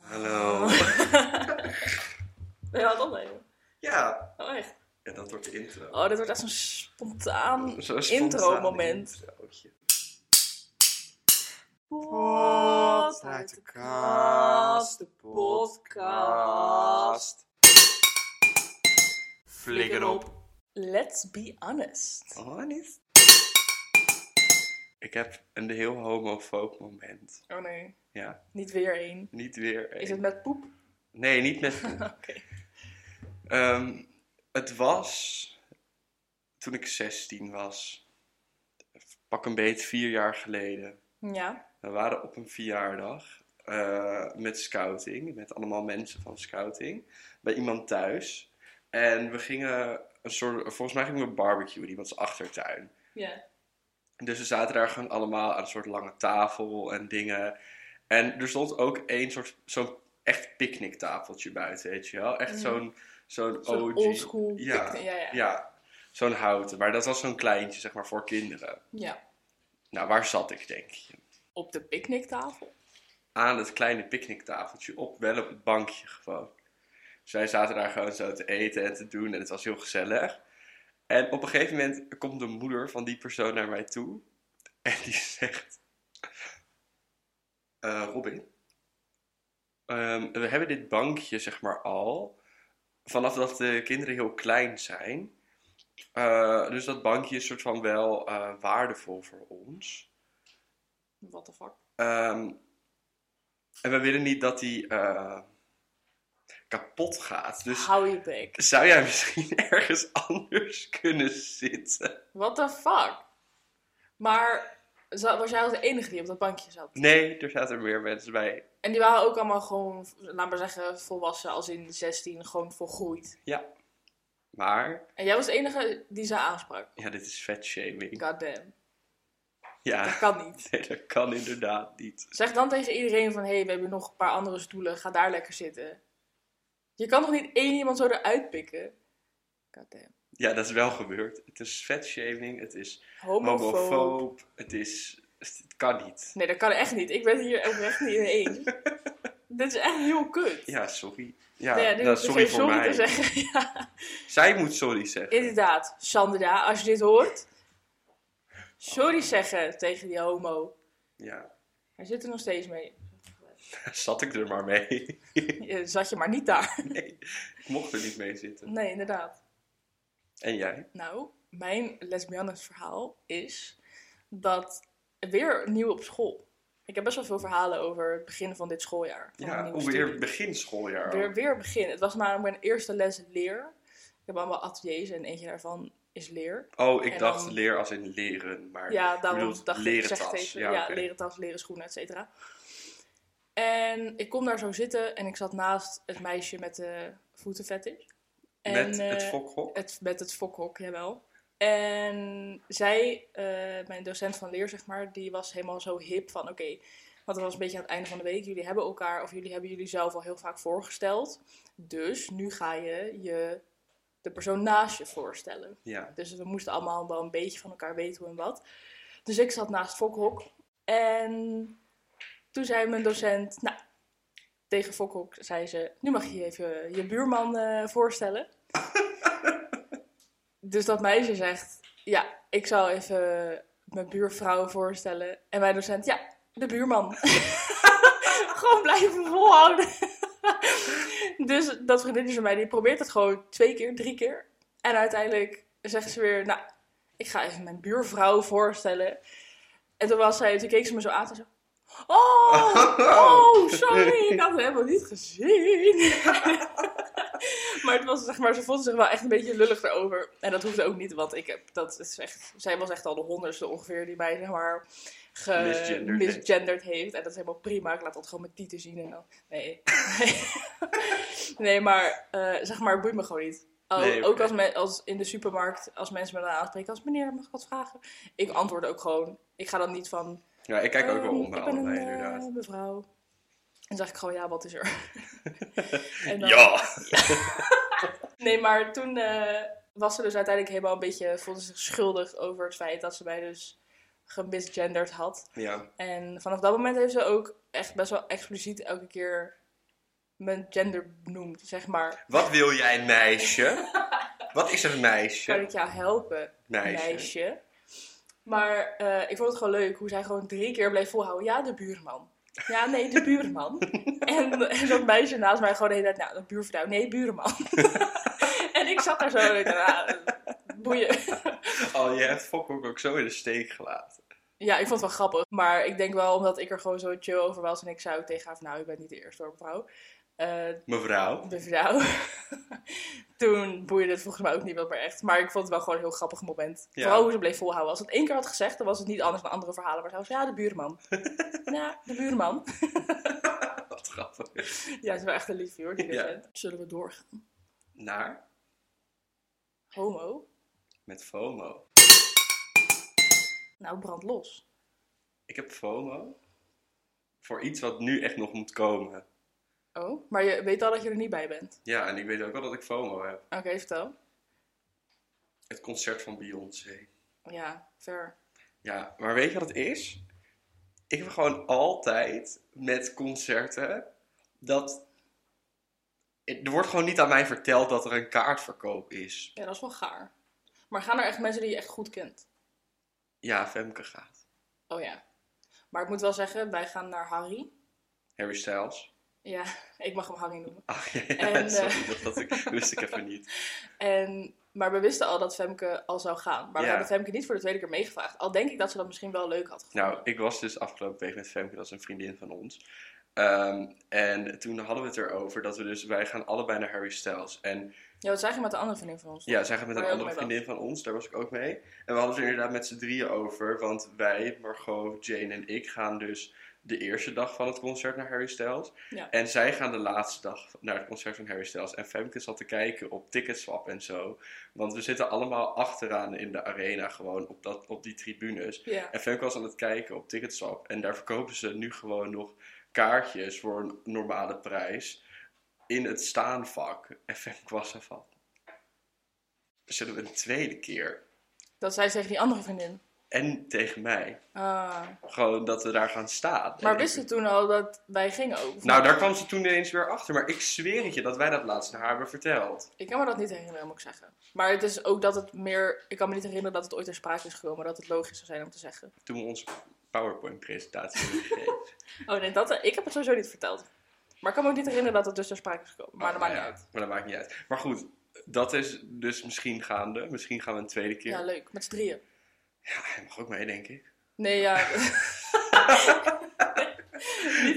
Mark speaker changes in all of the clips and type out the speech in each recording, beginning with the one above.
Speaker 1: Oh.
Speaker 2: wordt de intro.
Speaker 1: Oh, dit wordt echt zo'n spontaan
Speaker 2: Zo'n spontaan
Speaker 1: intro-moment.
Speaker 2: introotje.
Speaker 1: Pot uit de kast, de podcast.
Speaker 2: Flikker op.
Speaker 1: Let's be honest.
Speaker 2: Honest. Oh, Ik heb een heel homofoob moment.
Speaker 1: Oh nee,
Speaker 2: Ja,
Speaker 1: niet weer één.
Speaker 2: niet weer.
Speaker 1: Is
Speaker 2: een.
Speaker 1: het met poep?
Speaker 2: Nee, niet met.
Speaker 1: Oké.
Speaker 2: Ehm, het was toen ik 16 was. Pak een beet vier jaar geleden.
Speaker 1: Ja.
Speaker 2: We waren op een verjaardag eh, met scouting, met allemaal mensen van scouting, bij iemand thuis. En we gingen een soort, volgens mij gingen we barbecue in iemands achtertuin.
Speaker 1: Ja.
Speaker 2: Dus we zaten daar gewoon allemaal aan een soort lange tafel en dingen. En er stond ook één soort, zo'n echt picknicktafeltje buiten, weet je wel. Echt
Speaker 1: Mm.
Speaker 2: zo'n, zo'n
Speaker 1: Zo'n
Speaker 2: OG.
Speaker 1: oldschool.
Speaker 2: Ja,
Speaker 1: picknick. Ja, ja. ja.
Speaker 2: Ja, zo'n houten. Maar dat was zo'n kleintje, zeg maar, voor kinderen. Nou, waar zat ik, denk je?
Speaker 1: Op de picknicktafel.
Speaker 2: Aan het kleine picknicktafeltje op, wel op het bankje gewoon. Dus wij zaten daar gewoon zo te eten en te doen en het was heel gezellig. En op een gegeven moment komt de moeder van die persoon naar mij toe en die zegt: "Eh, Robin, ehm, we hebben dit bankje zeg maar al vanaf dat de kinderen heel klein zijn. Eh, dus dat bankje is soort van wel eh, waardevol voor ons.
Speaker 1: What the fuck?
Speaker 2: Ehm, en we willen niet dat die eh, kapot gaat. Dus
Speaker 1: Hou je bek.
Speaker 2: zou jij misschien ergens anders kunnen zitten?
Speaker 1: What the fuck? Maar za- was jij ook de enige die op dat bankje zat?
Speaker 2: Nee, er zaten meer mensen bij.
Speaker 1: En die waren ook allemaal gewoon, laat maar zeggen, volwassen als in 16, gewoon volgroeid.
Speaker 2: Ja. Maar,
Speaker 1: En jij was de enige die ze aansprak.
Speaker 2: ja, dit is vetshaming.
Speaker 1: Goddamn, dat
Speaker 2: Ja,
Speaker 1: kan niet.
Speaker 2: nee, dat kan inderdaad niet.
Speaker 1: Zeg dan tegen iedereen van, hé, hey, we hebben nog een paar andere stoelen, ga daar lekker zitten. Je kan toch niet één iemand zo eruit pikken? Goddamn.
Speaker 2: Ja, dat is wel gebeurd. Het is vetshaming, het is
Speaker 1: Homofoob.
Speaker 2: homofoob, het is... Het kan niet.
Speaker 1: Nee, dat kan echt niet. Ik ben het hier oprecht niet in eens. Dit is echt heel kut.
Speaker 2: Ja, sorry. Ja,
Speaker 1: Nee, dit
Speaker 2: dat,
Speaker 1: is
Speaker 2: sorry
Speaker 1: geen
Speaker 2: voor
Speaker 1: sorry
Speaker 2: mij.
Speaker 1: te zeggen. Ja.
Speaker 2: Zij moet sorry zeggen.
Speaker 1: Inderdaad, Sandra, als je dit hoort, sorry zeggen tegen die homo.
Speaker 2: Ja,
Speaker 1: Hij zit er nog steeds mee.
Speaker 2: zat ik er maar mee.
Speaker 1: Je- Zat je maar niet daar.
Speaker 2: Nee, ik mocht er niet mee zitten.
Speaker 1: Nee, inderdaad.
Speaker 2: En jij?
Speaker 1: Nou, mijn lesbiannes verhaal is dat weer nieuw op school. Ik heb best wel veel verhalen over het begin van dit schooljaar. Van een
Speaker 2: Ja,
Speaker 1: nieuwe
Speaker 2: alweer
Speaker 1: studie.
Speaker 2: begin schooljaar. al.
Speaker 1: Weer, weer begin. Het was namelijk mijn eerste les leer. Ik heb allemaal ateliers en eentje daarvan is leer.
Speaker 2: Oh, ik
Speaker 1: En
Speaker 2: dacht
Speaker 1: dan-
Speaker 2: leer als in leren, maar
Speaker 1: Ja,
Speaker 2: je
Speaker 1: daarom
Speaker 2: bedoelt
Speaker 1: dacht ik, ik,
Speaker 2: leren
Speaker 1: zeg het
Speaker 2: tas.
Speaker 1: even. Ja,
Speaker 2: Ja, oké.
Speaker 1: leren tas, leren schoenen, et cetera. En ik kom daar zo zitten en ik zat naast het meisje met de voetenfetish. En,
Speaker 2: Met het
Speaker 1: eh,
Speaker 2: fokhok.
Speaker 1: het, met het fokhok, jawel. En zij, eh, mijn docent van leer, zeg maar, die was helemaal zo hip van, oké, want het was een beetje aan het einde van de week, jullie hebben elkaar, of jullie hebben jullie zelf al heel vaak voorgesteld. Dus nu ga je je de persoon naast je voorstellen.
Speaker 2: Ja,
Speaker 1: Dus we moesten allemaal wel een beetje van elkaar weten hoe en wat. Dus ik zat naast Fokhok. En toen zei mijn docent, nou, tegen Fokhok zei ze, nu mag je even je buurman eh, voorstellen. dus dat meisje zegt, ja, ik zou even mijn buurvrouw voorstellen. En mijn docent, ja, de buurman. gewoon blijven volhouden. dus dat vriendinnetje van mij, die probeert het gewoon twee keer, drie keer. En uiteindelijk zegt ze weer, nou, ik ga even mijn buurvrouw voorstellen. En toen, was zij, toen keek ze me zo aan en zo... Oh, oh, sorry, ik had het helemaal niet gezien. maar het was, zeg maar, ze voelde zich wel echt een beetje lullig erover. En dat hoefde ook niet, want ik heb, dat is echt, zij was echt al de honderdste ongeveer die mij, zeg maar, ge-
Speaker 2: Misgenderd heeft.
Speaker 1: misgenderd heeft. En dat is helemaal prima, ik laat dat gewoon met tieten zien en dan... Nee, nee maar, eh, zeg maar, het boeit me gewoon niet. Ook-
Speaker 2: Nee, oké.
Speaker 1: Ook als, me- als in de supermarkt, als mensen me dan aanspreken als meneer, mag ik wat vragen? Ik antwoord ook gewoon. Ik ga dan niet van,
Speaker 2: ja ik kijk ook wel
Speaker 1: Ehm,
Speaker 2: om naar
Speaker 1: ik ben
Speaker 2: allebei,
Speaker 1: een, eh,
Speaker 2: inderdaad.
Speaker 1: mevrouw. En dan zeg ik gewoon, ja, wat is er? En dan-
Speaker 2: Ja!
Speaker 1: Nee, maar toen eh, was ze dus uiteindelijk helemaal een beetje, voelde ze zich schuldig over het feit dat ze mij dus gemisgenderd had.
Speaker 2: Ja,
Speaker 1: En vanaf dat moment heeft ze ook echt best wel expliciet elke keer mijn gender benoemd, zeg maar.
Speaker 2: wat wil jij, meisje? Wat is een meisje?
Speaker 1: Kan ik jou helpen,
Speaker 2: meisje.
Speaker 1: meisje? Maar eh, ik vond het gewoon leuk hoe zij gewoon drie keer bleef volhouden. Ja, de buurman. Ja, nee, de buurman. en, en dat meisje naast mij gewoon de hele tijd, nou, de buurvrouw. Nee, buurman. en ik zat daar zo en ik dacht, ah, boeien.
Speaker 2: Oh, je hebt Fokhoek ook zo in de steek gelaten.
Speaker 1: Ja, ik vond het wel grappig. Maar ik denk wel, omdat ik er gewoon zo chill over was en ik zou tegen haar van, nou, ik ben niet de eerste hoor, mevrouw. Eh,
Speaker 2: Mevrouw.
Speaker 1: de vrouw. Toen boeide het volgens mij ook niet wel meer echt. Maar ik vond het wel gewoon een heel grappig moment.
Speaker 2: Ja.
Speaker 1: Vooral hoe ze bleef volhouden. Als ze het één keer had gezegd, dan was het niet anders dan andere verhalen. Maar ze was ja, de buurman. ja, de buurman.
Speaker 2: Wat grappig.
Speaker 1: Ja, ze is wel echt een liefje hoor, die
Speaker 2: Ja.
Speaker 1: docent. Zullen we doorgaan?
Speaker 2: Naar
Speaker 1: Homo?
Speaker 2: met FOMO.
Speaker 1: Nou, brand los.
Speaker 2: Ik heb FOMO voor iets wat nu echt nog moet komen.
Speaker 1: Oh, maar je weet al dat je er niet bij bent.
Speaker 2: Ja, en ik weet ook wel dat ik FOMO heb.
Speaker 1: Oké, vertel.
Speaker 2: Het concert van Beyoncé.
Speaker 1: Ja, ver.
Speaker 2: Ja, maar weet je wat het is? Ik heb gewoon altijd met concerten dat. Er wordt gewoon niet aan mij verteld dat er een kaartverkoop is.
Speaker 1: Ja, dat is wel gaar. Maar gaan er echt mensen die je echt goed kent?
Speaker 2: Ja, Femke gaat.
Speaker 1: Oh ja. Maar ik moet wel zeggen, wij gaan naar Harry.
Speaker 2: Harry Styles.
Speaker 1: Ja, ik mag hem Harry noemen.
Speaker 2: Ach ja,
Speaker 1: En,
Speaker 2: sorry, dat, dat ik, wist ik even niet.
Speaker 1: En, maar we wisten al dat Femke al zou gaan. Maar
Speaker 2: Ja.
Speaker 1: we hebben Femke niet voor de tweede keer meegevraagd. Al denk ik dat ze dat misschien wel leuk had gevonden.
Speaker 2: Nou, ik was dus afgelopen week met Femke, dat is een vriendin van ons. Ehm, en toen hadden we het erover dat we dus, wij gaan allebei naar Harry Styles. En
Speaker 1: Ja, dat is eigenlijk met de andere vriendin van ons.
Speaker 2: ja, zij gaat met een
Speaker 1: Waar je ook
Speaker 2: andere
Speaker 1: mee was.
Speaker 2: vriendin van ons, daar was ik ook mee. En we hadden het er inderdaad met z'n drieën over, want wij, Margot, Jane en ik gaan dus de eerste dag van het concert naar Harry Styles.
Speaker 1: Ja.
Speaker 2: En zij gaan de laatste dag naar het concert van Harry Styles. En Femke zat te kijken op Ticketswap en zo. Want we zitten allemaal achteraan in de arena gewoon, op, dat, op die tribunes.
Speaker 1: Ja.
Speaker 2: En Femke was aan het kijken op Ticketswap. En daar verkopen ze nu gewoon nog kaartjes voor een normale prijs. In het staanvak. En Femke was ervan. Zullen we een tweede keer?
Speaker 1: Dat zei ze tegen die andere vriendin.
Speaker 2: En tegen mij.
Speaker 1: Ah.
Speaker 2: Gewoon dat we daar gaan staan.
Speaker 1: Maar
Speaker 2: En
Speaker 1: wist
Speaker 2: ik-
Speaker 1: ze toen al dat wij gingen ook? Of
Speaker 2: Nou,
Speaker 1: niet?
Speaker 2: daar kwam ze toen ineens weer achter. Maar ik zweer het je dat wij dat laatst naar haar hebben verteld.
Speaker 1: Ik kan me dat niet herinneren, moet ik zeggen. Maar het is ook dat het meer... Ik kan me niet herinneren dat het ooit ter sprake is gekomen. Dat het logisch zou zijn om te zeggen.
Speaker 2: Toen we onze PowerPoint-presentatie hebben gegeven.
Speaker 1: Oh nee, dat, ik heb het sowieso niet verteld. Maar ik kan me ook niet herinneren dat het dus ter sprake is gekomen. Maar
Speaker 2: Oh,
Speaker 1: dat maakt niet
Speaker 2: nou ja,
Speaker 1: uit.
Speaker 2: Maar dat maakt niet uit. Maar goed, dat is dus misschien gaande. Misschien gaan we een tweede keer.
Speaker 1: Ja, leuk. Met z'n drieën.
Speaker 2: Ja, hij mag ook mee, denk ik.
Speaker 1: Nee, ja... niet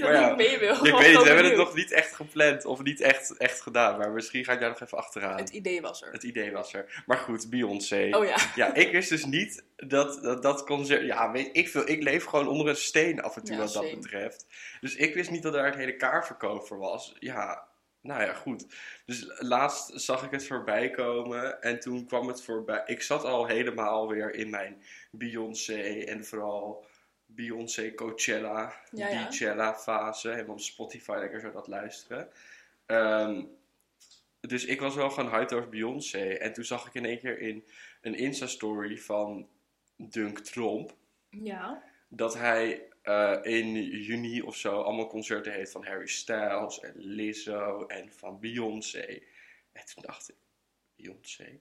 Speaker 1: dat
Speaker 2: Maar ja,
Speaker 1: ik mee wil.
Speaker 2: Ja, ik
Speaker 1: gewoon
Speaker 2: weet niet,
Speaker 1: zo
Speaker 2: we hebben het
Speaker 1: benieuwd.
Speaker 2: nog niet echt gepland of niet echt, echt gedaan. Maar misschien ga ik daar nog even achteraan.
Speaker 1: Het
Speaker 2: Het,
Speaker 1: idee was er.
Speaker 2: idee was er. Maar goed, Beyoncé.
Speaker 1: Oh ja.
Speaker 2: Ja, ik wist dus niet dat dat, dat concert... Ja, weet ik veel. Ik leef gewoon onder een steen af en toe
Speaker 1: Ja,
Speaker 2: wat dat
Speaker 1: same.
Speaker 2: betreft. Dus ik wist niet dat daar het hele kaarverkoop voor was. Ja, nou ja, goed. Dus laatst zag ik het voorbij komen. En toen kwam het voorbij. Ik zat al helemaal weer in mijn Beyoncé en vooral... Beyoncé, Coachella,
Speaker 1: Ja, ja.
Speaker 2: Beachella fase. Helemaal op Spotify lekker zo dat luisteren. Ehm, dus ik was wel gewoon hyped over Beyoncé. En toen zag ik in één keer in een Insta-story van Dunk Tromp...
Speaker 1: Ja.
Speaker 2: dat hij eh, in juni of zo allemaal concerten heeft van Harry Styles en Lizzo en van Beyoncé. En toen dacht ik, Beyoncé?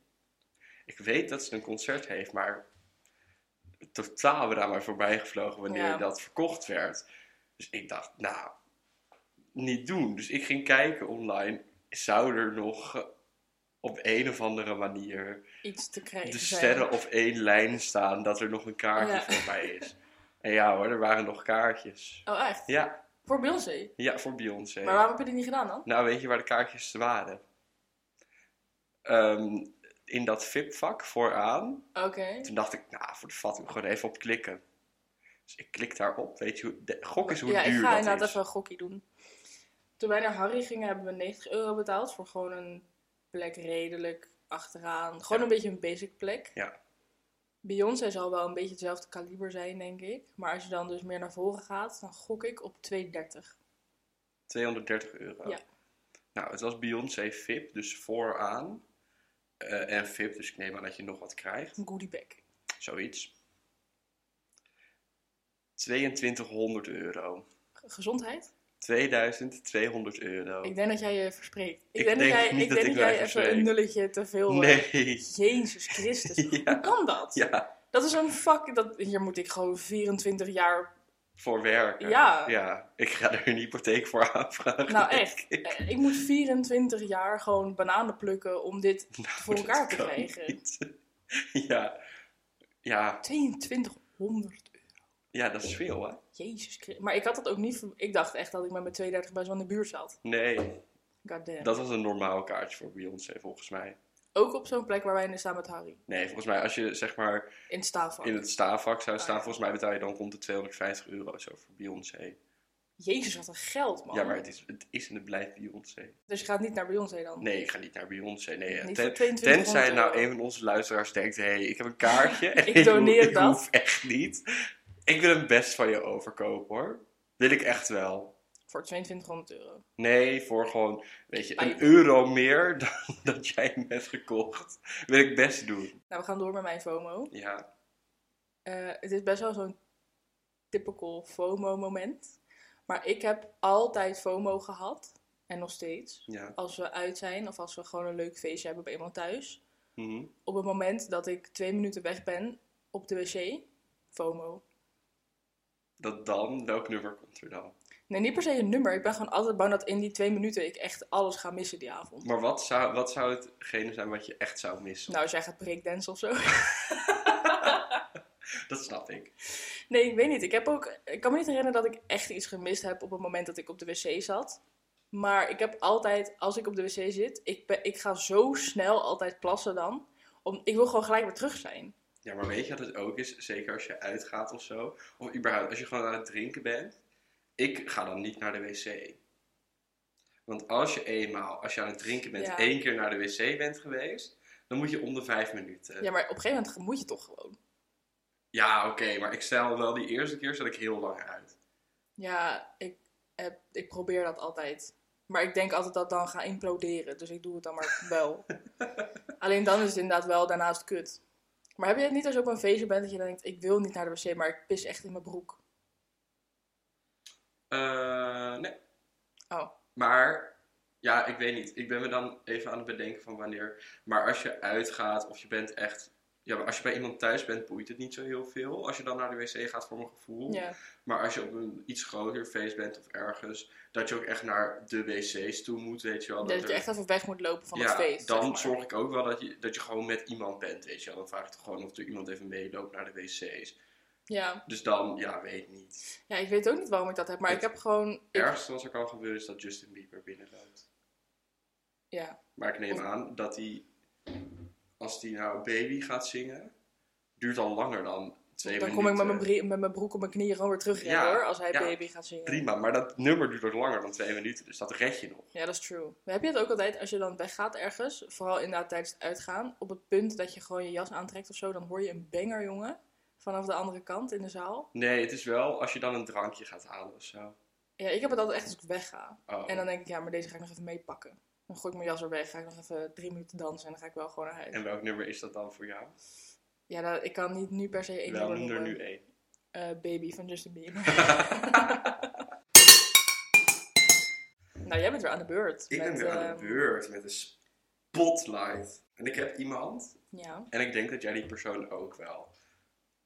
Speaker 2: Ik weet dat ze een concert heeft, maar totaal weer aan mij voorbij gevlogen wanneer
Speaker 1: Ja.
Speaker 2: dat verkocht werd. Dus ik dacht, nou, niet doen. Dus ik ging kijken online, zou er nog eh, op een of andere manier
Speaker 1: Iets te krijgen.
Speaker 2: de
Speaker 1: zijn.
Speaker 2: sterren op één lijn staan dat er nog een kaartje
Speaker 1: Ja.
Speaker 2: voor mij is. En ja hoor, er waren nog kaartjes.
Speaker 1: Oh, echt?
Speaker 2: Ja,
Speaker 1: Voor Beyoncé?
Speaker 2: ja voor Beyoncé.
Speaker 1: Maar waarom heb je dit niet gedaan dan?
Speaker 2: Nou, weet je waar de kaartjes waren? Ehm, in dat VIP-vak vooraan.
Speaker 1: Oké.
Speaker 2: Toen dacht ik, nou, voor de vat, ik gewoon even op klikken. Dus ik klik daarop, weet je, hoe- de, gok is hoe
Speaker 1: Ja, ik
Speaker 2: duur
Speaker 1: ga
Speaker 2: dat
Speaker 1: inderdaad
Speaker 2: is.
Speaker 1: even een gokkie doen. Toen wij naar Harry gingen, hebben we 90 euro betaald voor gewoon een plek redelijk achteraan. Gewoon
Speaker 2: Ja.
Speaker 1: een beetje een basic plek.
Speaker 2: Ja.
Speaker 1: Beyoncé zal wel een beetje hetzelfde kaliber zijn, denk ik. Maar als je dan dus meer naar voren gaat, dan gok ik op 2,30.
Speaker 2: 230 euro.
Speaker 1: Ja.
Speaker 2: Nou, het was Beyoncé VIP, dus vooraan. Eh, en VIP, dus ik neem aan dat je nog wat krijgt.
Speaker 1: Een goodie bag.
Speaker 2: Zoiets. 2200 euro.
Speaker 1: Gezondheid?
Speaker 2: 2200 euro.
Speaker 1: Ik denk dat jij je verspreekt. Ik,
Speaker 2: Ik
Speaker 1: denk,
Speaker 2: denk
Speaker 1: dat jij,
Speaker 2: niet
Speaker 1: ik
Speaker 2: dat
Speaker 1: denk
Speaker 2: ik
Speaker 1: dat jij
Speaker 2: mij
Speaker 1: even
Speaker 2: verspreek.
Speaker 1: een nulletje te veel... eh,
Speaker 2: Nee.
Speaker 1: Jezus Christus. Hoe
Speaker 2: Ja,
Speaker 1: kan dat?
Speaker 2: ja,
Speaker 1: Dat is een fuck... Dat, hier moet ik gewoon 24 jaar...
Speaker 2: voor werken.
Speaker 1: Ja.
Speaker 2: ja. Ik ga er een hypotheek voor aanvragen.
Speaker 1: Nou,
Speaker 2: denk
Speaker 1: echt.
Speaker 2: ik.
Speaker 1: eh, Ik moet 24 jaar gewoon bananen plukken om dit
Speaker 2: Nou,
Speaker 1: voor
Speaker 2: dat
Speaker 1: elkaar te
Speaker 2: kan
Speaker 1: krijgen.
Speaker 2: niet. Ja. ja,
Speaker 1: 2200 euro.
Speaker 2: ja, dat is veel, hè?
Speaker 1: Jezus Christus. Maar ik had dat ook niet... ver- Ik dacht echt dat ik met mijn 32 best wel in de buurt zat.
Speaker 2: Nee,
Speaker 1: Goddamn.
Speaker 2: dat was een normaal kaartje voor Beyoncé, volgens mij.
Speaker 1: Ook op zo'n plek waar wij nu staan met Harry.
Speaker 2: Nee, volgens mij, als je zeg maar
Speaker 1: In het staalvak.
Speaker 2: in het staafvak zou
Speaker 1: Oh, ja.
Speaker 2: staan, volgens mij betaal je dan rond de 250 euro zo voor Beyoncé.
Speaker 1: Jezus, wat een geld, man.
Speaker 2: Ja, maar het is, het is en het blijft Beyoncé.
Speaker 1: Dus je gaat niet naar Beyoncé dan?
Speaker 2: Nee, ik ga niet naar Beyoncé. Nee, ja.
Speaker 1: Niet
Speaker 2: Ten-
Speaker 1: voor 2200
Speaker 2: tenzij nou
Speaker 1: euro.
Speaker 2: een van onze luisteraars denkt: hé, hey, ik heb een kaartje. en
Speaker 1: Ik
Speaker 2: ik
Speaker 1: doneer
Speaker 2: hoef- ik
Speaker 1: dat.
Speaker 2: hoef echt niet. Ik wil hem best van je overkopen hoor. Wil ik echt wel.
Speaker 1: Voor 2200 euro.
Speaker 2: Nee, voor gewoon, weet je, een
Speaker 1: Pijp.
Speaker 2: euro meer dan dat jij hem hebt gekocht. Wil ik best doen.
Speaker 1: Nou, we gaan door met mijn FOMO.
Speaker 2: Ja,
Speaker 1: Eh, het is best wel zo'n typical FOMO moment. Maar ik heb altijd FOMO gehad. En nog steeds.
Speaker 2: ja.
Speaker 1: Als we uit zijn of als we gewoon een leuk feestje hebben bij iemand thuis.
Speaker 2: Mhm.
Speaker 1: Op het moment dat ik twee minuten weg ben op de wc. FOMO.
Speaker 2: Dat dan, welk nummer komt er dan?
Speaker 1: Nee, niet per se een nummer. Ik ben gewoon altijd bang dat in die twee minuten ik echt alles ga missen die avond.
Speaker 2: Maar wat zou, wat zou hetgene zijn wat je echt zou missen?
Speaker 1: Nou, als jij gaat breakdansen of zo.
Speaker 2: Dat snap ik.
Speaker 1: Nee, ik weet niet. Ik, heb ook, ik kan me niet herinneren dat ik echt iets gemist heb op het moment dat ik op de wc zat. Maar ik heb altijd, als ik op de wc zit, ik, ben, ik ga zo snel altijd plassen dan. Om, ik wil gewoon gelijk weer terug zijn.
Speaker 2: Ja, maar weet je wat het ook is? Zeker als je uitgaat of zo. Of überhaupt, als je gewoon aan het drinken bent. Ik ga dan niet naar de wc. Want als je eenmaal, als je aan het drinken bent,
Speaker 1: Ja.
Speaker 2: één keer naar de wc bent geweest, dan moet je om de vijf minuten.
Speaker 1: Ja, maar op een gegeven moment moet je toch gewoon.
Speaker 2: Ja, oké, maar ik stel wel die eerste keer zat ik heel lang uit.
Speaker 1: Ja, ik, heb, ik probeer dat altijd. Maar ik denk altijd dat dan ga imploderen. Dus ik doe het dan maar wel. Alleen dan is het inderdaad wel daarnaast kut. Maar heb je het niet als je op een feestje bent dat je dan denkt, ik wil niet naar de wc, maar ik pis echt in mijn broek?
Speaker 2: Eh, nee.
Speaker 1: Oh,
Speaker 2: Maar ja, ik weet niet. Ik ben me dan even aan het bedenken van wanneer. Maar als je uitgaat of je bent echt. Ja, maar als je bij iemand thuis bent, boeit het niet zo heel veel. Als je dan naar de wc gaat, voor mijn gevoel.
Speaker 1: ja.
Speaker 2: Maar als je op een iets groter feest bent of ergens, dat je ook echt naar de wc's toe moet, weet je wel.
Speaker 1: Dat je
Speaker 2: er-
Speaker 1: echt even weg moet lopen van
Speaker 2: ja,
Speaker 1: het feest.
Speaker 2: dan
Speaker 1: zeg maar.
Speaker 2: zorg ik ook wel dat je, dat je gewoon met iemand bent, weet je wel. Dan vraag ik toch gewoon of er iemand even meeloopt naar de wc's.
Speaker 1: Ja.
Speaker 2: Dus dan, ja, weet niet.
Speaker 1: ja, ik weet ook niet waarom ik dat heb, maar
Speaker 2: Het
Speaker 1: ik heb gewoon. ik-
Speaker 2: Het ergste wat er kan gebeuren is dat Justin Bieber binnenloopt.
Speaker 1: ja.
Speaker 2: Maar ik neem
Speaker 1: Of-
Speaker 2: aan dat hij, als hij nou Baby gaat zingen, duurt al langer dan twee
Speaker 1: Dan
Speaker 2: minuten.
Speaker 1: kom ik met mijn, brie- met mijn broek op mijn knieën gewoon weer terug
Speaker 2: eh, Ja,
Speaker 1: hoor, als hij
Speaker 2: ja.
Speaker 1: baby gaat zingen.
Speaker 2: Prima, maar dat nummer duurt ook langer dan twee minuten, dus dat red je nog.
Speaker 1: Ja, dat is true. Maar heb je het ook altijd als je dan weggaat ergens, vooral inderdaad tijdens het uitgaan, op het punt dat je gewoon je jas aantrekt of zo, dan hoor je een banger, jongen, vanaf de andere kant in de zaal?
Speaker 2: Nee, het is wel als je dan een drankje gaat halen of zo.
Speaker 1: Ja, ik heb het altijd echt als ik wegga.
Speaker 2: Oh.
Speaker 1: En dan denk ik, ja, maar deze ga ik nog even meepakken. Dan gooi ik mijn jas er weg, ga ik nog even drie minuten dansen en dan ga ik wel gewoon naar huis.
Speaker 2: En welk nummer is dat dan voor jou?
Speaker 1: Ja, dat, ik kan niet nu per se één
Speaker 2: Wel
Speaker 1: nummer
Speaker 2: noem er
Speaker 1: noemen.
Speaker 2: nu één.
Speaker 1: Eh, baby van Justin Bieber. nou, jij bent weer aan de beurt.
Speaker 2: Ik
Speaker 1: met,
Speaker 2: ben weer aan
Speaker 1: ehm,
Speaker 2: de beurt met een spotlight. En ik heb iemand,
Speaker 1: Ja.
Speaker 2: en ik denk dat jij die persoon ook wel.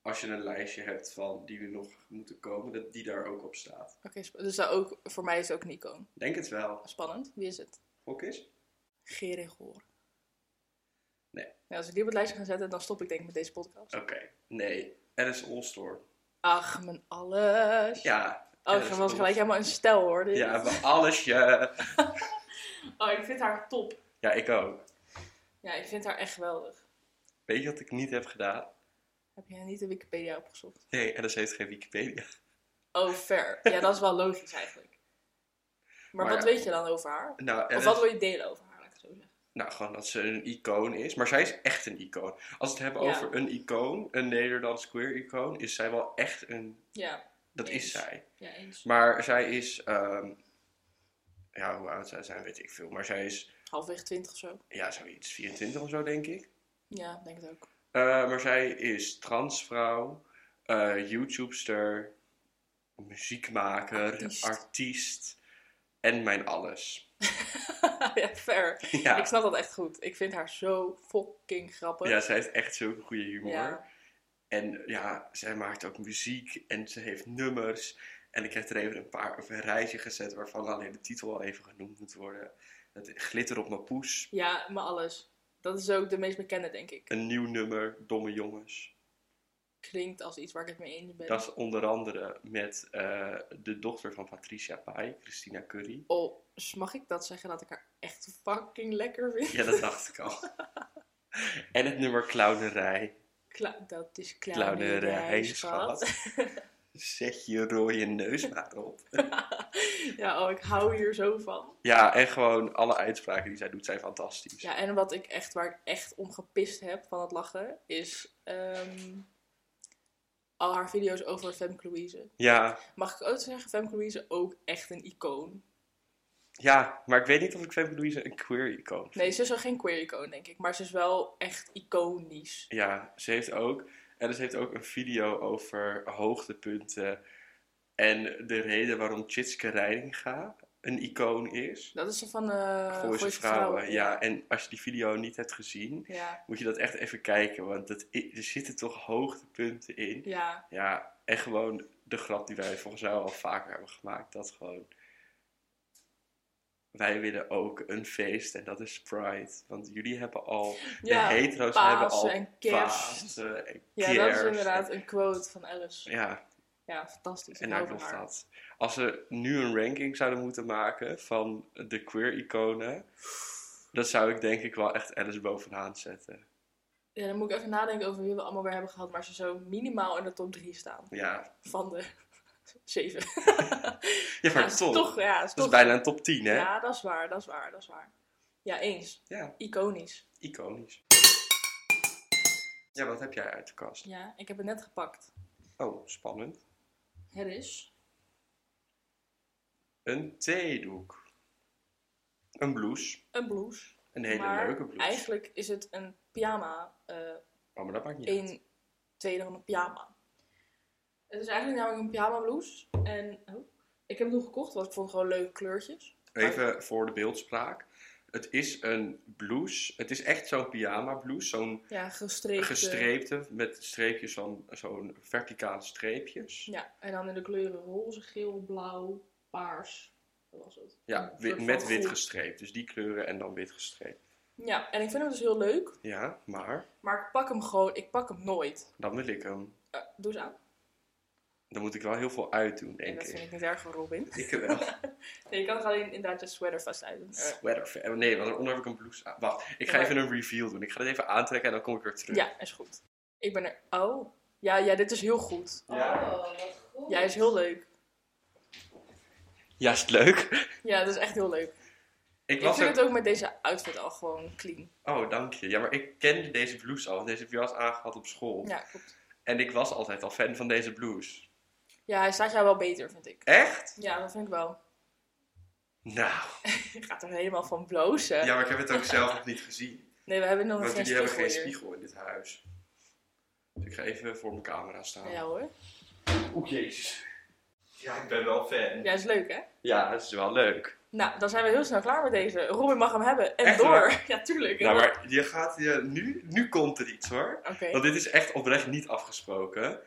Speaker 2: Als je een lijstje hebt van die we nog moeten komen, dat die daar ook op staat.
Speaker 1: Oké, sp- dus dat ook, voor mij is het ook Nico.
Speaker 2: Denk het wel.
Speaker 1: Spannend. Wie is het?
Speaker 2: Gok is?
Speaker 1: Geregor.
Speaker 2: Nee.
Speaker 1: Nou, als ik die op het lijstje ga zetten, dan stop ik denk ik met deze podcast.
Speaker 2: Oké. Nee. Alice Allstore.
Speaker 1: Ach, mijn alles.
Speaker 2: Ja.
Speaker 1: oh,
Speaker 2: Alice
Speaker 1: ze was gelijk
Speaker 2: Allstor.
Speaker 1: helemaal een stijl hoor. dit.
Speaker 2: Ja, we allesje.
Speaker 1: Oh, ik vind haar top.
Speaker 2: Ja, ik ook.
Speaker 1: Ja, ik vind haar echt geweldig.
Speaker 2: Weet je wat ik niet heb gedaan?
Speaker 1: Heb jij niet de Wikipedia opgezocht?
Speaker 2: Nee, Alice heeft geen Wikipedia.
Speaker 1: Oh, fair. Ja, dat is wel logisch eigenlijk. Maar,
Speaker 2: Maar
Speaker 1: wat
Speaker 2: ja.
Speaker 1: weet je dan over haar?
Speaker 2: Nou,
Speaker 1: Of
Speaker 2: Alice-
Speaker 1: wat wil je delen over haar, laat ik het zo zeggen?
Speaker 2: Nou, gewoon dat ze een icoon is. Maar zij is echt een icoon. Als we het hebben
Speaker 1: Ja.
Speaker 2: over een icoon, een Nederlands queer icoon, is zij wel echt een.
Speaker 1: Ja,
Speaker 2: Dat is
Speaker 1: Eens.
Speaker 2: zij.
Speaker 1: ja eens.
Speaker 2: Maar zij is. ehm, ja, hoe oud zij zijn, weet ik veel. Maar zij is.
Speaker 1: Halfweg twintig of zo.
Speaker 2: Ja, zoiets. 24 of zo, denk ik.
Speaker 1: Ja, ik denk het ook.
Speaker 2: Eh, maar zij is transvrouw, eh YouTubester, muziekmaker,
Speaker 1: Artiest.
Speaker 2: artiest. en mijn alles.
Speaker 1: ja, fair. Ik
Speaker 2: Ja,
Speaker 1: snap dat echt goed. Ik vind haar zo fucking grappig.
Speaker 2: ja zij heeft echt zulke goede humor.
Speaker 1: Ja.
Speaker 2: En ja, zij maakt ook muziek en ze heeft nummers. En ik heb er even een paar op een rijtje gezet waarvan alleen de titel al even genoemd moet worden. Het Glitter op mijn poes,
Speaker 1: Ja, maar alles. Dat is ook de meest bekende, denk ik.
Speaker 2: een nieuw nummer, Domme Jongens.
Speaker 1: Klinkt als iets waar ik het mee eens ben.
Speaker 2: Dat is onder andere met eh, de dochter van Patricia Pai, Christina Curry.
Speaker 1: Oh, s- mag ik dat zeggen dat ik haar echt fucking lekker vind?
Speaker 2: Ja, dat dacht ik al. en het nummer Clownerij.
Speaker 1: Kla- dat is
Speaker 2: Clownerij,
Speaker 1: klauwnerij,
Speaker 2: schat.
Speaker 1: schat.
Speaker 2: Zet je rode neus maar op.
Speaker 1: Ja, oh, ik hou hier zo van.
Speaker 2: Ja, en gewoon alle uitspraken die zij doet zijn fantastisch.
Speaker 1: Ja, en wat ik echt, waar ik echt om gepist heb van het lachen, is ehm, al haar video's over Femke Louise.
Speaker 2: Ja,
Speaker 1: Mag ik ook zeggen, Femke Louise ook echt een icoon.
Speaker 2: ja, maar ik weet niet of ik Femke Louise een queer icoon
Speaker 1: Nee, ze is wel geen queer-icoon, denk ik, maar ze is wel echt iconisch.
Speaker 2: Ja, ze heeft ook. En ze heeft ook een video over hoogtepunten. En de reden waarom Chitske Reininga een icoon is.
Speaker 1: Dat is ze van eh
Speaker 2: Gooise
Speaker 1: Gooise
Speaker 2: vrouwen. Ja, en als je die video niet hebt gezien,
Speaker 1: Ja,
Speaker 2: moet je dat echt even kijken. Want dat i- er zitten toch hoogtepunten in.
Speaker 1: ja.
Speaker 2: Ja, en gewoon de grap die wij volgens mij al vaker hebben gemaakt. Dat gewoon. Wij willen ook een feest en dat is Pride. Want jullie hebben al.
Speaker 1: Ja,
Speaker 2: de hetero's
Speaker 1: Pasen
Speaker 2: hebben al.
Speaker 1: en kerst.
Speaker 2: Pasen en
Speaker 1: Ja, dat is
Speaker 2: kerst.
Speaker 1: inderdaad een quote van Alice.
Speaker 2: Ja,
Speaker 1: Ja, fantastisch.
Speaker 2: en
Speaker 1: ik hou
Speaker 2: daar
Speaker 1: van
Speaker 2: nog
Speaker 1: haar.
Speaker 2: dat. Als we nu een ranking zouden moeten maken van de queer-iconen. Dan zou ik denk ik wel echt Alice bovenaan zetten.
Speaker 1: Ja, dan moet ik even nadenken over wie we allemaal weer hebben gehad, maar ze zo minimaal in de top 3 staan.
Speaker 2: Ja,
Speaker 1: Van de 7.
Speaker 2: ja maar
Speaker 1: is
Speaker 2: toch.
Speaker 1: ja, is
Speaker 2: Dat is
Speaker 1: toch-
Speaker 2: bijna een top 10, hè?
Speaker 1: Ja, dat is waar, dat is waar, dat is waar. Ja, eens.
Speaker 2: ja
Speaker 1: Iconisch.
Speaker 2: iconisch. Ja, wat heb jij uit de kast?
Speaker 1: Ja, ik heb het net gepakt.
Speaker 2: Oh, spannend.
Speaker 1: Het is.
Speaker 2: Een theedoek. Een blouse.
Speaker 1: Een blouse.
Speaker 2: Een hele
Speaker 1: maar
Speaker 2: leuke blouse.
Speaker 1: Eigenlijk is het een pyjama. eh
Speaker 2: Oh, maar dat maakt niet uit.
Speaker 1: één tweede van een pyjama. Het is eigenlijk namelijk een pyjama blouse. En oh, ik heb het toen gekocht, want ik vond gewoon leuke kleurtjes.
Speaker 2: Even voor de beeldspraak. Het is een blouse. Het is echt zo'n pyjama blouse. Zo'n
Speaker 1: Ja, gestreept. eh,
Speaker 2: gestreepte met streepjes van zo'n verticale streepjes.
Speaker 1: Ja, en dan in de kleuren roze, geel, blauw, paars. Dat was het.
Speaker 2: Ja,
Speaker 1: Een
Speaker 2: wi-
Speaker 1: soort van
Speaker 2: met wit
Speaker 1: groen.
Speaker 2: gestreept. Dus die kleuren en dan wit gestreept.
Speaker 1: Ja, en ik vind hem dus heel leuk.
Speaker 2: Ja, maar
Speaker 1: Maar ik pak hem gewoon, ik pak hem nooit.
Speaker 2: dan wil ik hem.
Speaker 1: Eh, doe eens aan.
Speaker 2: Dan moet ik wel heel veel uitdoen,
Speaker 1: En
Speaker 2: denk
Speaker 1: dat vind
Speaker 2: ik.
Speaker 1: ik niet erg, Robin.
Speaker 2: Ik wel.
Speaker 1: Nee, je kan er alleen inderdaad je sweater vast uitdoen. Eh,
Speaker 2: Sweater. fan. Oh, Nee, want daaronder heb ik een blouse aan. Wacht, ik ga
Speaker 1: Ja.
Speaker 2: even een reveal doen. Ik ga dit even aantrekken en dan kom ik weer terug.
Speaker 1: ja, is goed. Ik ben er. Oh. Ja, ja, dit is heel goed.
Speaker 2: Ja.
Speaker 3: Oh, wat goed.
Speaker 1: Ja, is heel leuk.
Speaker 2: Ja, is het leuk?
Speaker 1: Ja, dat is echt heel leuk.
Speaker 2: Ik
Speaker 1: Ik,
Speaker 2: was
Speaker 1: vind
Speaker 2: er...
Speaker 1: het ook met deze outfit al gewoon clean.
Speaker 2: Oh, dank je. Ja, maar ik kende deze blouse al. Want deze heb je al eens aangehad op school.
Speaker 1: Ja, klopt.
Speaker 2: En ik was altijd al fan van deze blouse.
Speaker 1: Ja, hij staat jou wel beter, vind ik.
Speaker 2: Echt?
Speaker 1: Ja, dat vind ik wel.
Speaker 2: Nou.
Speaker 1: Je gaat er helemaal van blozen.
Speaker 2: Ja, maar ik heb het ook zelf nog niet gezien.
Speaker 1: Nee, we hebben nog
Speaker 2: Want
Speaker 1: geen
Speaker 2: jullie
Speaker 1: spiegel
Speaker 2: hebben geen
Speaker 1: hier.
Speaker 2: spiegel in dit huis. Dus ik ga even voor mijn camera staan.
Speaker 1: Ja hoor.
Speaker 2: Oeh, Oh, jezus. Ja, ik ben wel fan.
Speaker 1: Ja, is leuk hè?
Speaker 2: Ja, dat is wel leuk.
Speaker 1: Nou, dan zijn we heel snel klaar met deze. Robin mag hem hebben. En
Speaker 2: Echt
Speaker 1: door.
Speaker 2: waar?
Speaker 1: Ja, tuurlijk.
Speaker 2: Nou, maar je gaat je... Nu, nu komt er iets, hoor.
Speaker 1: Oké.
Speaker 2: Want dit is echt oprecht niet afgesproken.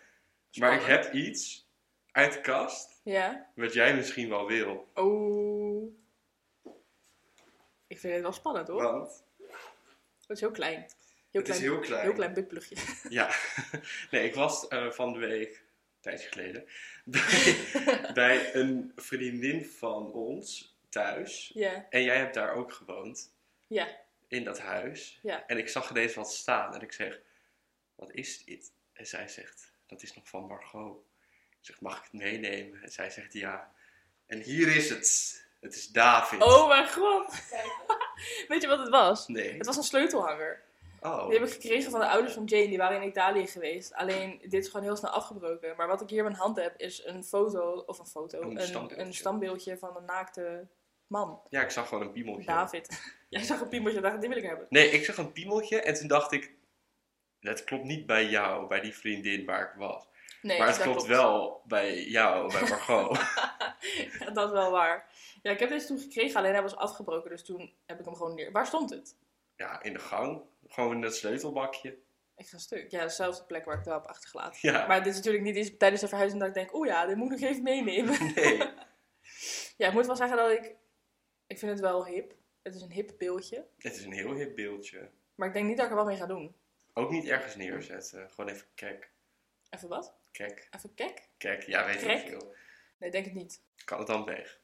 Speaker 2: Maar ik heb iets uit de kast
Speaker 1: Ja.
Speaker 2: wat jij misschien wel wil.
Speaker 1: Oh. Ik vind het wel spannend hoor.
Speaker 2: Want
Speaker 1: Het is heel klein.
Speaker 2: het
Speaker 1: Heel klein,
Speaker 2: is heel klein.
Speaker 1: heel klein bukplugje.
Speaker 2: Ja. Nee, ik was eh, van de week, een tijdje geleden, bij, bij een vriendin van ons thuis.
Speaker 1: ja.
Speaker 2: En jij hebt daar ook gewoond.
Speaker 1: Ja.
Speaker 2: In dat huis.
Speaker 1: Ja.
Speaker 2: En ik zag deze wat staan en ik zeg, wat is dit? En zij zegt, dat is nog van Margot. Ik zeg, mag ik het meenemen? En zij zegt, ja. En hier is het. Het is David.
Speaker 1: Oh mijn god. Weet je wat het was?
Speaker 2: Nee.
Speaker 1: Het was een sleutelhanger.
Speaker 2: Oh.
Speaker 1: Die heb ik gekregen van de ouders van Jane. Die waren in Italië geweest. Alleen, dit is gewoon heel snel afgebroken. Maar wat ik hier in mijn hand heb, is een foto... Of een foto.
Speaker 2: Een standbeeldje.
Speaker 1: een standbeeldje van een naakte man.
Speaker 2: Ja, ik zag gewoon een piemeltje.
Speaker 1: David. Jij zag een piemeltje en dacht, die wil ik hebben.
Speaker 2: Nee, ik zag een piemeltje en toen dacht ik, dat klopt niet bij jou, bij die vriendin waar ik was.
Speaker 1: Nee, dus
Speaker 2: maar het
Speaker 1: dat
Speaker 2: klopt wel bij jou, bij Margot.
Speaker 1: Ja, dat is wel waar. Ja, ik heb deze toen gekregen, alleen hij was afgebroken, dus toen heb ik hem gewoon neer. Waar stond het?
Speaker 2: Ja, in de gang. Gewoon in dat sleutelbakje.
Speaker 1: Ik ga stuk. Ja, dezelfde plek waar ik het wel heb achtergelaten.
Speaker 2: Ja.
Speaker 1: Maar dit is natuurlijk niet iets tijdens de verhuizing dat ik denk, oh ja, dit moet ik nog even meenemen.
Speaker 2: Nee.
Speaker 1: Ja, ik moet wel zeggen dat ik, ik vind het wel hip. Het is een hip beeldje.
Speaker 2: Het is een heel hip beeldje.
Speaker 1: Maar ik denk niet dat ik er wat mee ga doen.
Speaker 2: Ook niet ergens neerzetten. Gewoon even kek.
Speaker 1: Even wat?
Speaker 2: Kek.
Speaker 1: Even kek?
Speaker 2: Kek. Ja, weet
Speaker 1: Krek?
Speaker 2: ik veel.
Speaker 1: Nee, denk het niet.
Speaker 2: Kan het dan weg?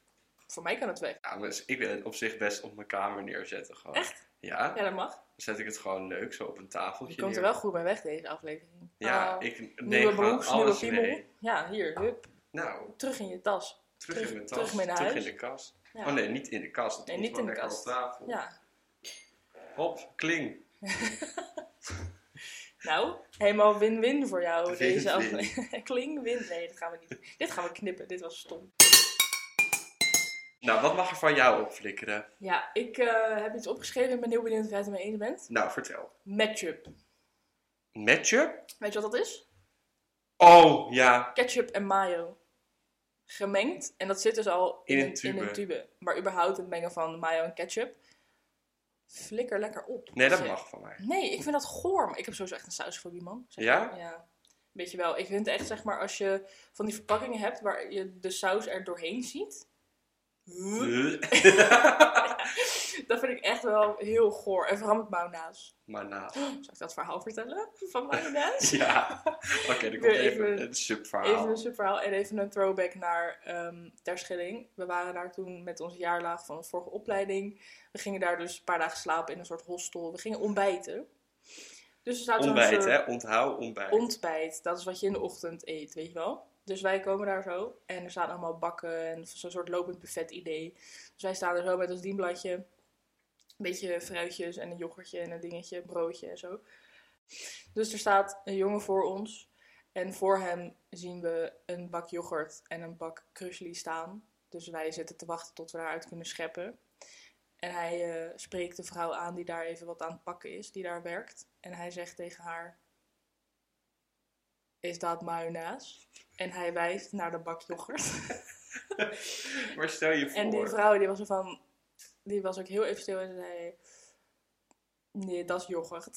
Speaker 1: Voor mij kan het weg.
Speaker 2: Ja, maar ik wil het op zich best op mijn kamer neerzetten. Gewoon.
Speaker 1: Echt?
Speaker 2: Ja.
Speaker 1: Ja, dat mag.
Speaker 2: Dan zet ik het gewoon leuk zo op een tafeltje
Speaker 1: Je komt er
Speaker 2: neer.
Speaker 1: wel goed bij weg deze aflevering.
Speaker 2: Ja,
Speaker 1: Ah,
Speaker 2: ik neem
Speaker 1: Nieuwe
Speaker 2: gewoon
Speaker 1: broeks, nieuwe
Speaker 2: alles
Speaker 1: piemel.
Speaker 2: mee.
Speaker 1: Ja, hier, hup.
Speaker 2: Nou,
Speaker 1: Terug in je tas.
Speaker 2: terug,
Speaker 1: Terug-
Speaker 2: in mijn tas.
Speaker 1: terug mee naar
Speaker 2: terug
Speaker 1: huis.
Speaker 2: in de kast.
Speaker 1: Ja.
Speaker 2: Oh nee, niet in de kast. Dat
Speaker 1: Nee,
Speaker 2: komt
Speaker 1: niet in
Speaker 2: wel
Speaker 1: de
Speaker 2: lekker
Speaker 1: kast.
Speaker 2: Op tafel.
Speaker 1: Ja.
Speaker 2: Hop, kling.
Speaker 1: Nou, helemaal win-win voor jou
Speaker 2: Win-win.
Speaker 1: deze aflevering. Kling, win. Nee, dat gaan we niet. Dit gaan we knippen. Dit was stom.
Speaker 2: Nou, wat mag er van jou opflikkeren?
Speaker 1: Ja, ik eh, heb iets opgeschreven. Ik ben heel benieuwd of jij het ermee eens bent.
Speaker 2: Nou, vertel.
Speaker 1: Matchup.
Speaker 2: Matchup?
Speaker 1: Weet je wat dat is?
Speaker 2: Oh, ja.
Speaker 1: ketchup en mayo gemengd. En dat zit dus al in,
Speaker 2: In
Speaker 1: een,
Speaker 2: een
Speaker 1: in een
Speaker 2: tube.
Speaker 1: tube. Maar überhaupt het mengen van mayo en ketchup. Flikker lekker op.
Speaker 2: Nee, dat
Speaker 1: Zeg.
Speaker 2: mag van mij.
Speaker 1: Nee, ik vind dat goor. maar Ik heb sowieso echt een saus voor die man. Zeg
Speaker 2: Ja?
Speaker 1: maar. Ja. Weet je wel. Ik vind echt, zeg maar, als je van die verpakkingen hebt waar je de saus er doorheen ziet. Dat vind ik echt wel heel goor. En vooral met mayonaise.
Speaker 2: maar na.
Speaker 1: Zal ik dat verhaal vertellen? Van mayonaise?
Speaker 2: Ja. Oké, er komt
Speaker 1: Weer
Speaker 2: even
Speaker 1: even-
Speaker 2: een subverhaal.
Speaker 1: Even een superverhaal en even een throwback naar ehm Ter Schelling. We waren daar toen met onze jaarlaag van de vorige opleiding. We gingen daar dus een paar dagen slapen in een soort hostel. We gingen ontbijten. Dus er staat zo'n
Speaker 2: Ontbijt,
Speaker 1: soort
Speaker 2: hè? Onthoud, ontbijt.
Speaker 1: ontbijt. Dat is wat je in de ochtend eet, weet je wel. Dus wij komen daar zo en er staan allemaal bakken en zo'n soort lopend buffet idee. Dus wij staan er zo met ons dienbladje. Een beetje fruitjes en een yoghurtje en een dingetje, een broodje en zo. Dus er staat een jongen voor ons. En voor hem zien we een bak yoghurt en een bak krusli staan. Dus wij zitten te wachten tot we daaruit kunnen scheppen. En hij eh, spreekt de vrouw aan die daar even wat aan het pakken is, die daar werkt. En hij zegt tegen haar, is dat mayonaise? En hij wijst naar de bak yoghurt.
Speaker 2: Maar stel je voor.
Speaker 1: En die vrouw die was er van, die was ook heel even stil en zei, nee, dat is yoghurt.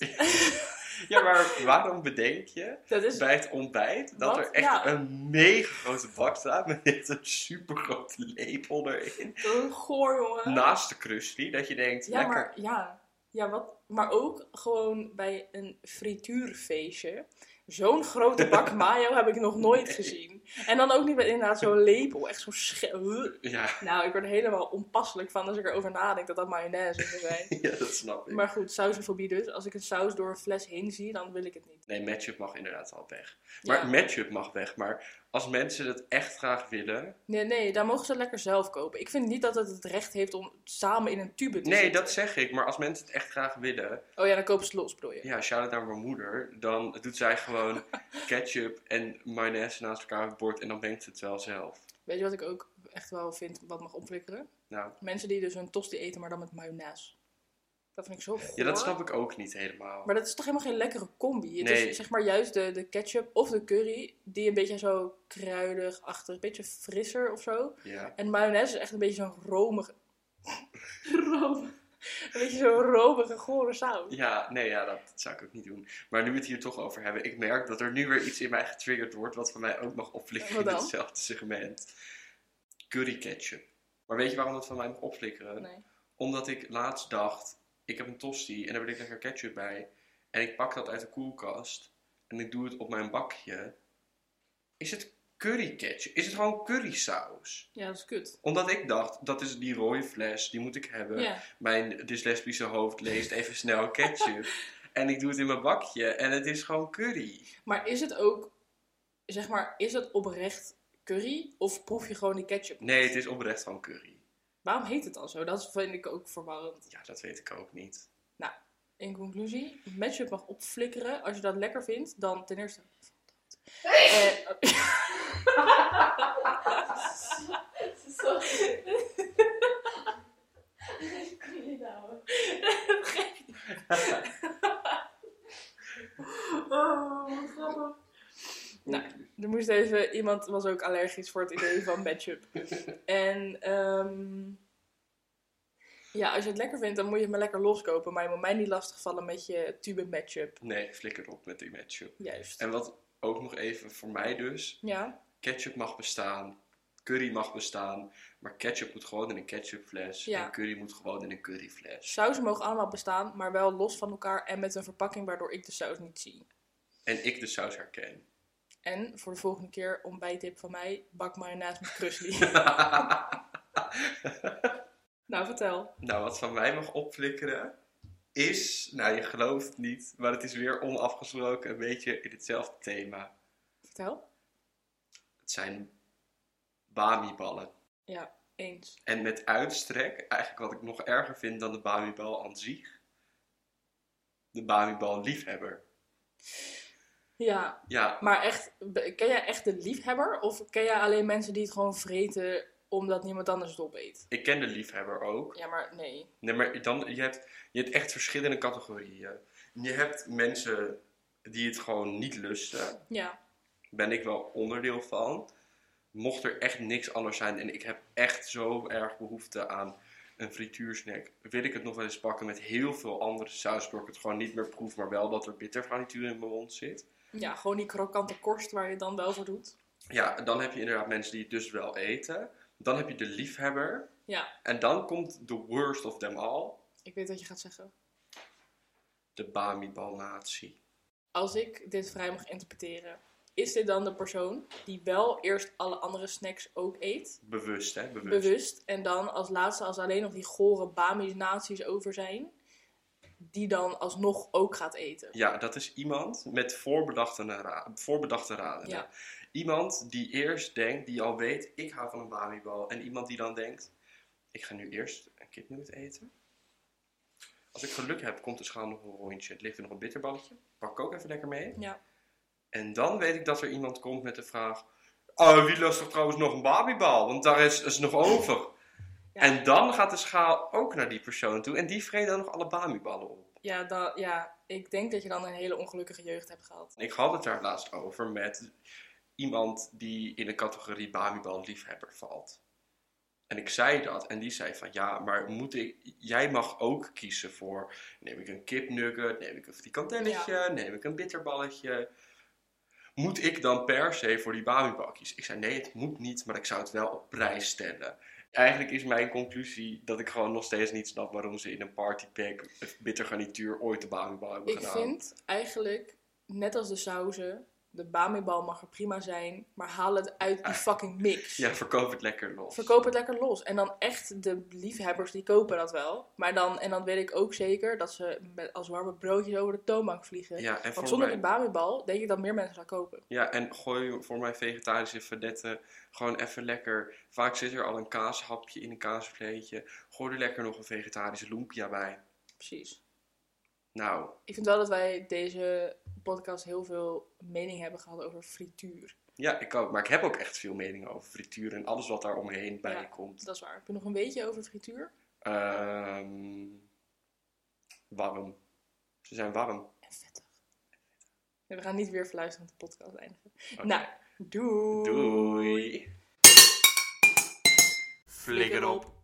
Speaker 2: Ja, maar waarom bedenk je
Speaker 1: Dat is
Speaker 2: bij het ontbijt dat
Speaker 1: Dus Wat?
Speaker 2: er echt
Speaker 1: Ja.
Speaker 2: een mega grote bak staat met echt een super grote lepel erin?
Speaker 1: dat is een goor, jongen.
Speaker 2: Naast de crusty, dat je denkt,
Speaker 1: ja,
Speaker 2: Nou, lekker.
Speaker 1: maar ja. Ja, wat, maar ook gewoon bij een frituurfeestje. Zo'n grote bak mayo heb ik nog nooit gezien. En dan ook niet met inderdaad zo'n lepel, echt zo'n sche-
Speaker 2: Ja,
Speaker 1: Nou, ik word er helemaal onpasselijk van als ik erover nadenk dat dat mayonaise zou zijn.
Speaker 2: ja, dat snap ik.
Speaker 1: Maar goed, sausofobie dus. Als ik een saus door een fles heen zie, dan wil ik het niet.
Speaker 2: Nee, matchup mag inderdaad al weg. Maar
Speaker 1: Ja.
Speaker 2: matchup mag weg, maar als mensen dat echt graag willen.
Speaker 1: Nee, nee, dan mogen ze het lekker zelf kopen. Ik vind niet dat het het recht heeft om samen in een tube te
Speaker 2: Nee,
Speaker 1: zitten.
Speaker 2: dat zeg ik, maar als mensen het echt graag willen.
Speaker 1: Oh ja, dan kopen ze het los, bedoel je?
Speaker 2: Ja, shout out naar mijn moeder. Dan doet zij gewoon ketchup en mayonaise naast elkaar op het bord en dan denkt ze het wel zelf.
Speaker 1: Weet je wat ik ook echt wel vind, wat mag opflikkeren?
Speaker 2: Nou,
Speaker 1: Mensen die dus hun tosti eten, maar dan met mayonaise. Dat vind ik zo goor.
Speaker 2: ja, dat snap ik ook niet helemaal.
Speaker 1: Maar dat is toch helemaal geen lekkere combi? Het
Speaker 2: Nee.
Speaker 1: is zeg maar juist de, de ketchup of de curry, die een beetje zo kruidig achter, een beetje frisser of zo.
Speaker 2: Ja.
Speaker 1: En mayonaise is echt een beetje zo'n romige... romige... Een beetje zo'n romige, gore saus.
Speaker 2: Ja, nee, ja, dat zou ik ook niet doen. Maar nu we het hier toch over hebben, ik merk dat er nu weer iets in mij getriggerd wordt wat van mij ook mag opflikkeren
Speaker 1: Wat
Speaker 2: in
Speaker 1: dan?
Speaker 2: hetzelfde segment. Curry ketchup. Maar weet je waarom dat van mij mag opflikkeren?
Speaker 1: Nee.
Speaker 2: Omdat ik laatst dacht, ik heb een tosti en daar wil ik lekker ketchup bij. En ik pak dat uit de koelkast en ik doe het op mijn bakje. Is het curry ketchup? Is het gewoon currysaus?
Speaker 1: Ja, dat is kut.
Speaker 2: Omdat ik dacht, dat is die rode fles, die moet ik hebben.
Speaker 1: Ja.
Speaker 2: Mijn dyslexische hoofd leest even snel ketchup. en ik doe het in mijn bakje en het is gewoon curry.
Speaker 1: Maar is het ook, zeg maar, is het oprecht curry of proef je gewoon die ketchup?
Speaker 2: Nee, het is oprecht gewoon curry.
Speaker 1: Waarom heet het dan zo? Dat vind ik ook verwarrend.
Speaker 2: Ja, dat weet ik ook niet.
Speaker 1: Nou, in conclusie, matchup mag opflikkeren. Als je dat lekker vindt, dan ten eerste. Eh, oh.
Speaker 3: Sorry. Ik kon niet houden.
Speaker 1: nou, dan moet moest even, iemand was ook allergisch voor het idee van matchup. en ehm, ja, als je het lekker vindt, dan moet je het maar lekker loskopen. Maar je moet mij niet lastigvallen met je tube matchup.
Speaker 2: Nee, flikker op met die matchup.
Speaker 1: Juist.
Speaker 2: En wat ook nog even voor mij dus.
Speaker 1: Ja,
Speaker 2: Ketchup mag bestaan. Curry mag bestaan. Maar ketchup moet gewoon in een ketchupfles.
Speaker 1: Ja.
Speaker 2: En curry moet gewoon in een curryfles.
Speaker 1: sauzen mogen allemaal bestaan, maar wel los van elkaar en met een verpakking waardoor ik de saus niet zie.
Speaker 2: En ik de saus herken.
Speaker 1: En voor de volgende keer ontbijttip van mij, bak mayonaise met krusli. nou, vertel.
Speaker 2: Nou, wat van mij mag opflikkeren is, nou je gelooft het niet, maar het is weer onafgesproken een beetje in hetzelfde thema.
Speaker 1: Vertel.
Speaker 2: Het zijn bamiballen.
Speaker 1: Ja, eens.
Speaker 2: En met uitstrek, eigenlijk wat ik nog erger vind dan de bamibal aan zich, de bamibal liefhebber.
Speaker 1: Ja,
Speaker 2: Ja,
Speaker 1: maar echt, be- ken jij echt de liefhebber? Of ken jij alleen mensen die het gewoon vreten omdat niemand anders het opeet?
Speaker 2: ik ken de liefhebber ook.
Speaker 1: Ja, maar nee.
Speaker 2: Nee, maar dan, je, hebt, je hebt echt verschillende categorieën. Je hebt mensen die het gewoon niet lusten.
Speaker 1: Ja,
Speaker 2: ben ik wel onderdeel van. Mocht er echt niks anders zijn en ik heb echt zo erg behoefte aan een frituursnack, wil ik het nog wel eens pakken met heel veel andere saus, waardoor ik het gewoon niet meer proef, maar wel dat er bittergarnituur in mijn mond zit.
Speaker 1: ja gewoon die krokante korst waar je het dan wel voor doet.
Speaker 2: Ja, en dan heb je inderdaad mensen die het dus wel eten. Dan heb je de liefhebber.
Speaker 1: Ja,
Speaker 2: En dan komt de worst of them all,
Speaker 1: ik weet wat je gaat zeggen.
Speaker 2: de Bamibal-natie.
Speaker 1: Als ik dit vrij mag interpreteren, is dit dan de persoon die wel eerst alle andere snacks ook eet?
Speaker 2: Bewust, hè? Bewust.
Speaker 1: bewust. En dan als laatste, als alleen nog die gore Bami's-naties over zijn, die dan alsnog ook gaat eten.
Speaker 2: Ja, dat is iemand met voorbedachte, ra- voorbedachte raden.
Speaker 1: Ja.
Speaker 2: Iemand die eerst denkt, die al weet, ik hou van een babybal. En iemand die dan denkt, ik ga nu eerst een kipnoot eten. Als ik geluk heb, komt de schaal nog een rondje. Het ligt er nog een bitterballetje. Pak ik ook even lekker mee.
Speaker 1: Ja.
Speaker 2: En dan weet ik dat er iemand komt met de vraag... Oh, wie lust er trouwens nog een babybal? Want daar is, is nog over.
Speaker 1: Ja.
Speaker 2: En dan gaat de schaal ook naar die persoon toe. En die vreet dan nog alle babyballen op.
Speaker 1: Ja, dan, ja, ik denk dat je dan een hele ongelukkige jeugd hebt gehad.
Speaker 2: Ik had het daar laatst over met iemand die in de categorie Babybal liefhebber valt. En ik zei dat en die zei van ja, maar moet ik, jij mag ook kiezen voor neem ik een kipnugget, neem ik een frikandelletje, neem ik een bitterballetje. Moet ik dan per se voor die Babybal kiezen? Ik zei nee, het moet niet, maar ik zou het wel op prijs stellen. Eigenlijk is mijn conclusie dat ik gewoon nog steeds niet snap waarom ze in een partypack of bittergarnituur ooit de Babybal hebben
Speaker 1: Ik
Speaker 2: gedaan.
Speaker 1: vind eigenlijk, net als de sauzen, de Bamibal mag er prima zijn, maar haal het uit die fucking mix.
Speaker 2: Ah. Ja, verkoop het lekker los.
Speaker 1: Verkoop het lekker los. En dan echt de liefhebbers die kopen dat wel. Maar dan, en dan weet ik ook zeker dat ze met, als warme broodjes over de toonbank vliegen.
Speaker 2: Ja, en,
Speaker 1: Want
Speaker 2: voor
Speaker 1: zonder
Speaker 2: mij,
Speaker 1: die Bamibal denk ik dat meer mensen gaan kopen.
Speaker 2: ja, en gooi voor mijn vegetarische verdetten gewoon even lekker. Vaak zit er al een kaashapje in een kaasvleetje. Gooi er lekker nog een vegetarische lumpia bij.
Speaker 1: Precies.
Speaker 2: Nou,
Speaker 1: Ik vind wel dat wij deze podcast heel veel mening hebben gehad over frituur.
Speaker 2: ja, ik ook. Maar ik heb ook echt veel meningen over frituur en alles wat daar omheen bij
Speaker 1: Ja.
Speaker 2: komt.
Speaker 1: Dat is waar. Heb je nog een beetje over frituur?
Speaker 2: Ehm, warm. Ze zijn warm.
Speaker 1: En vettig. Ja, we gaan niet weer verluisteren met de podcast eindigen.
Speaker 2: Oké.
Speaker 1: Nou, doei!
Speaker 2: Doei. Flikker op.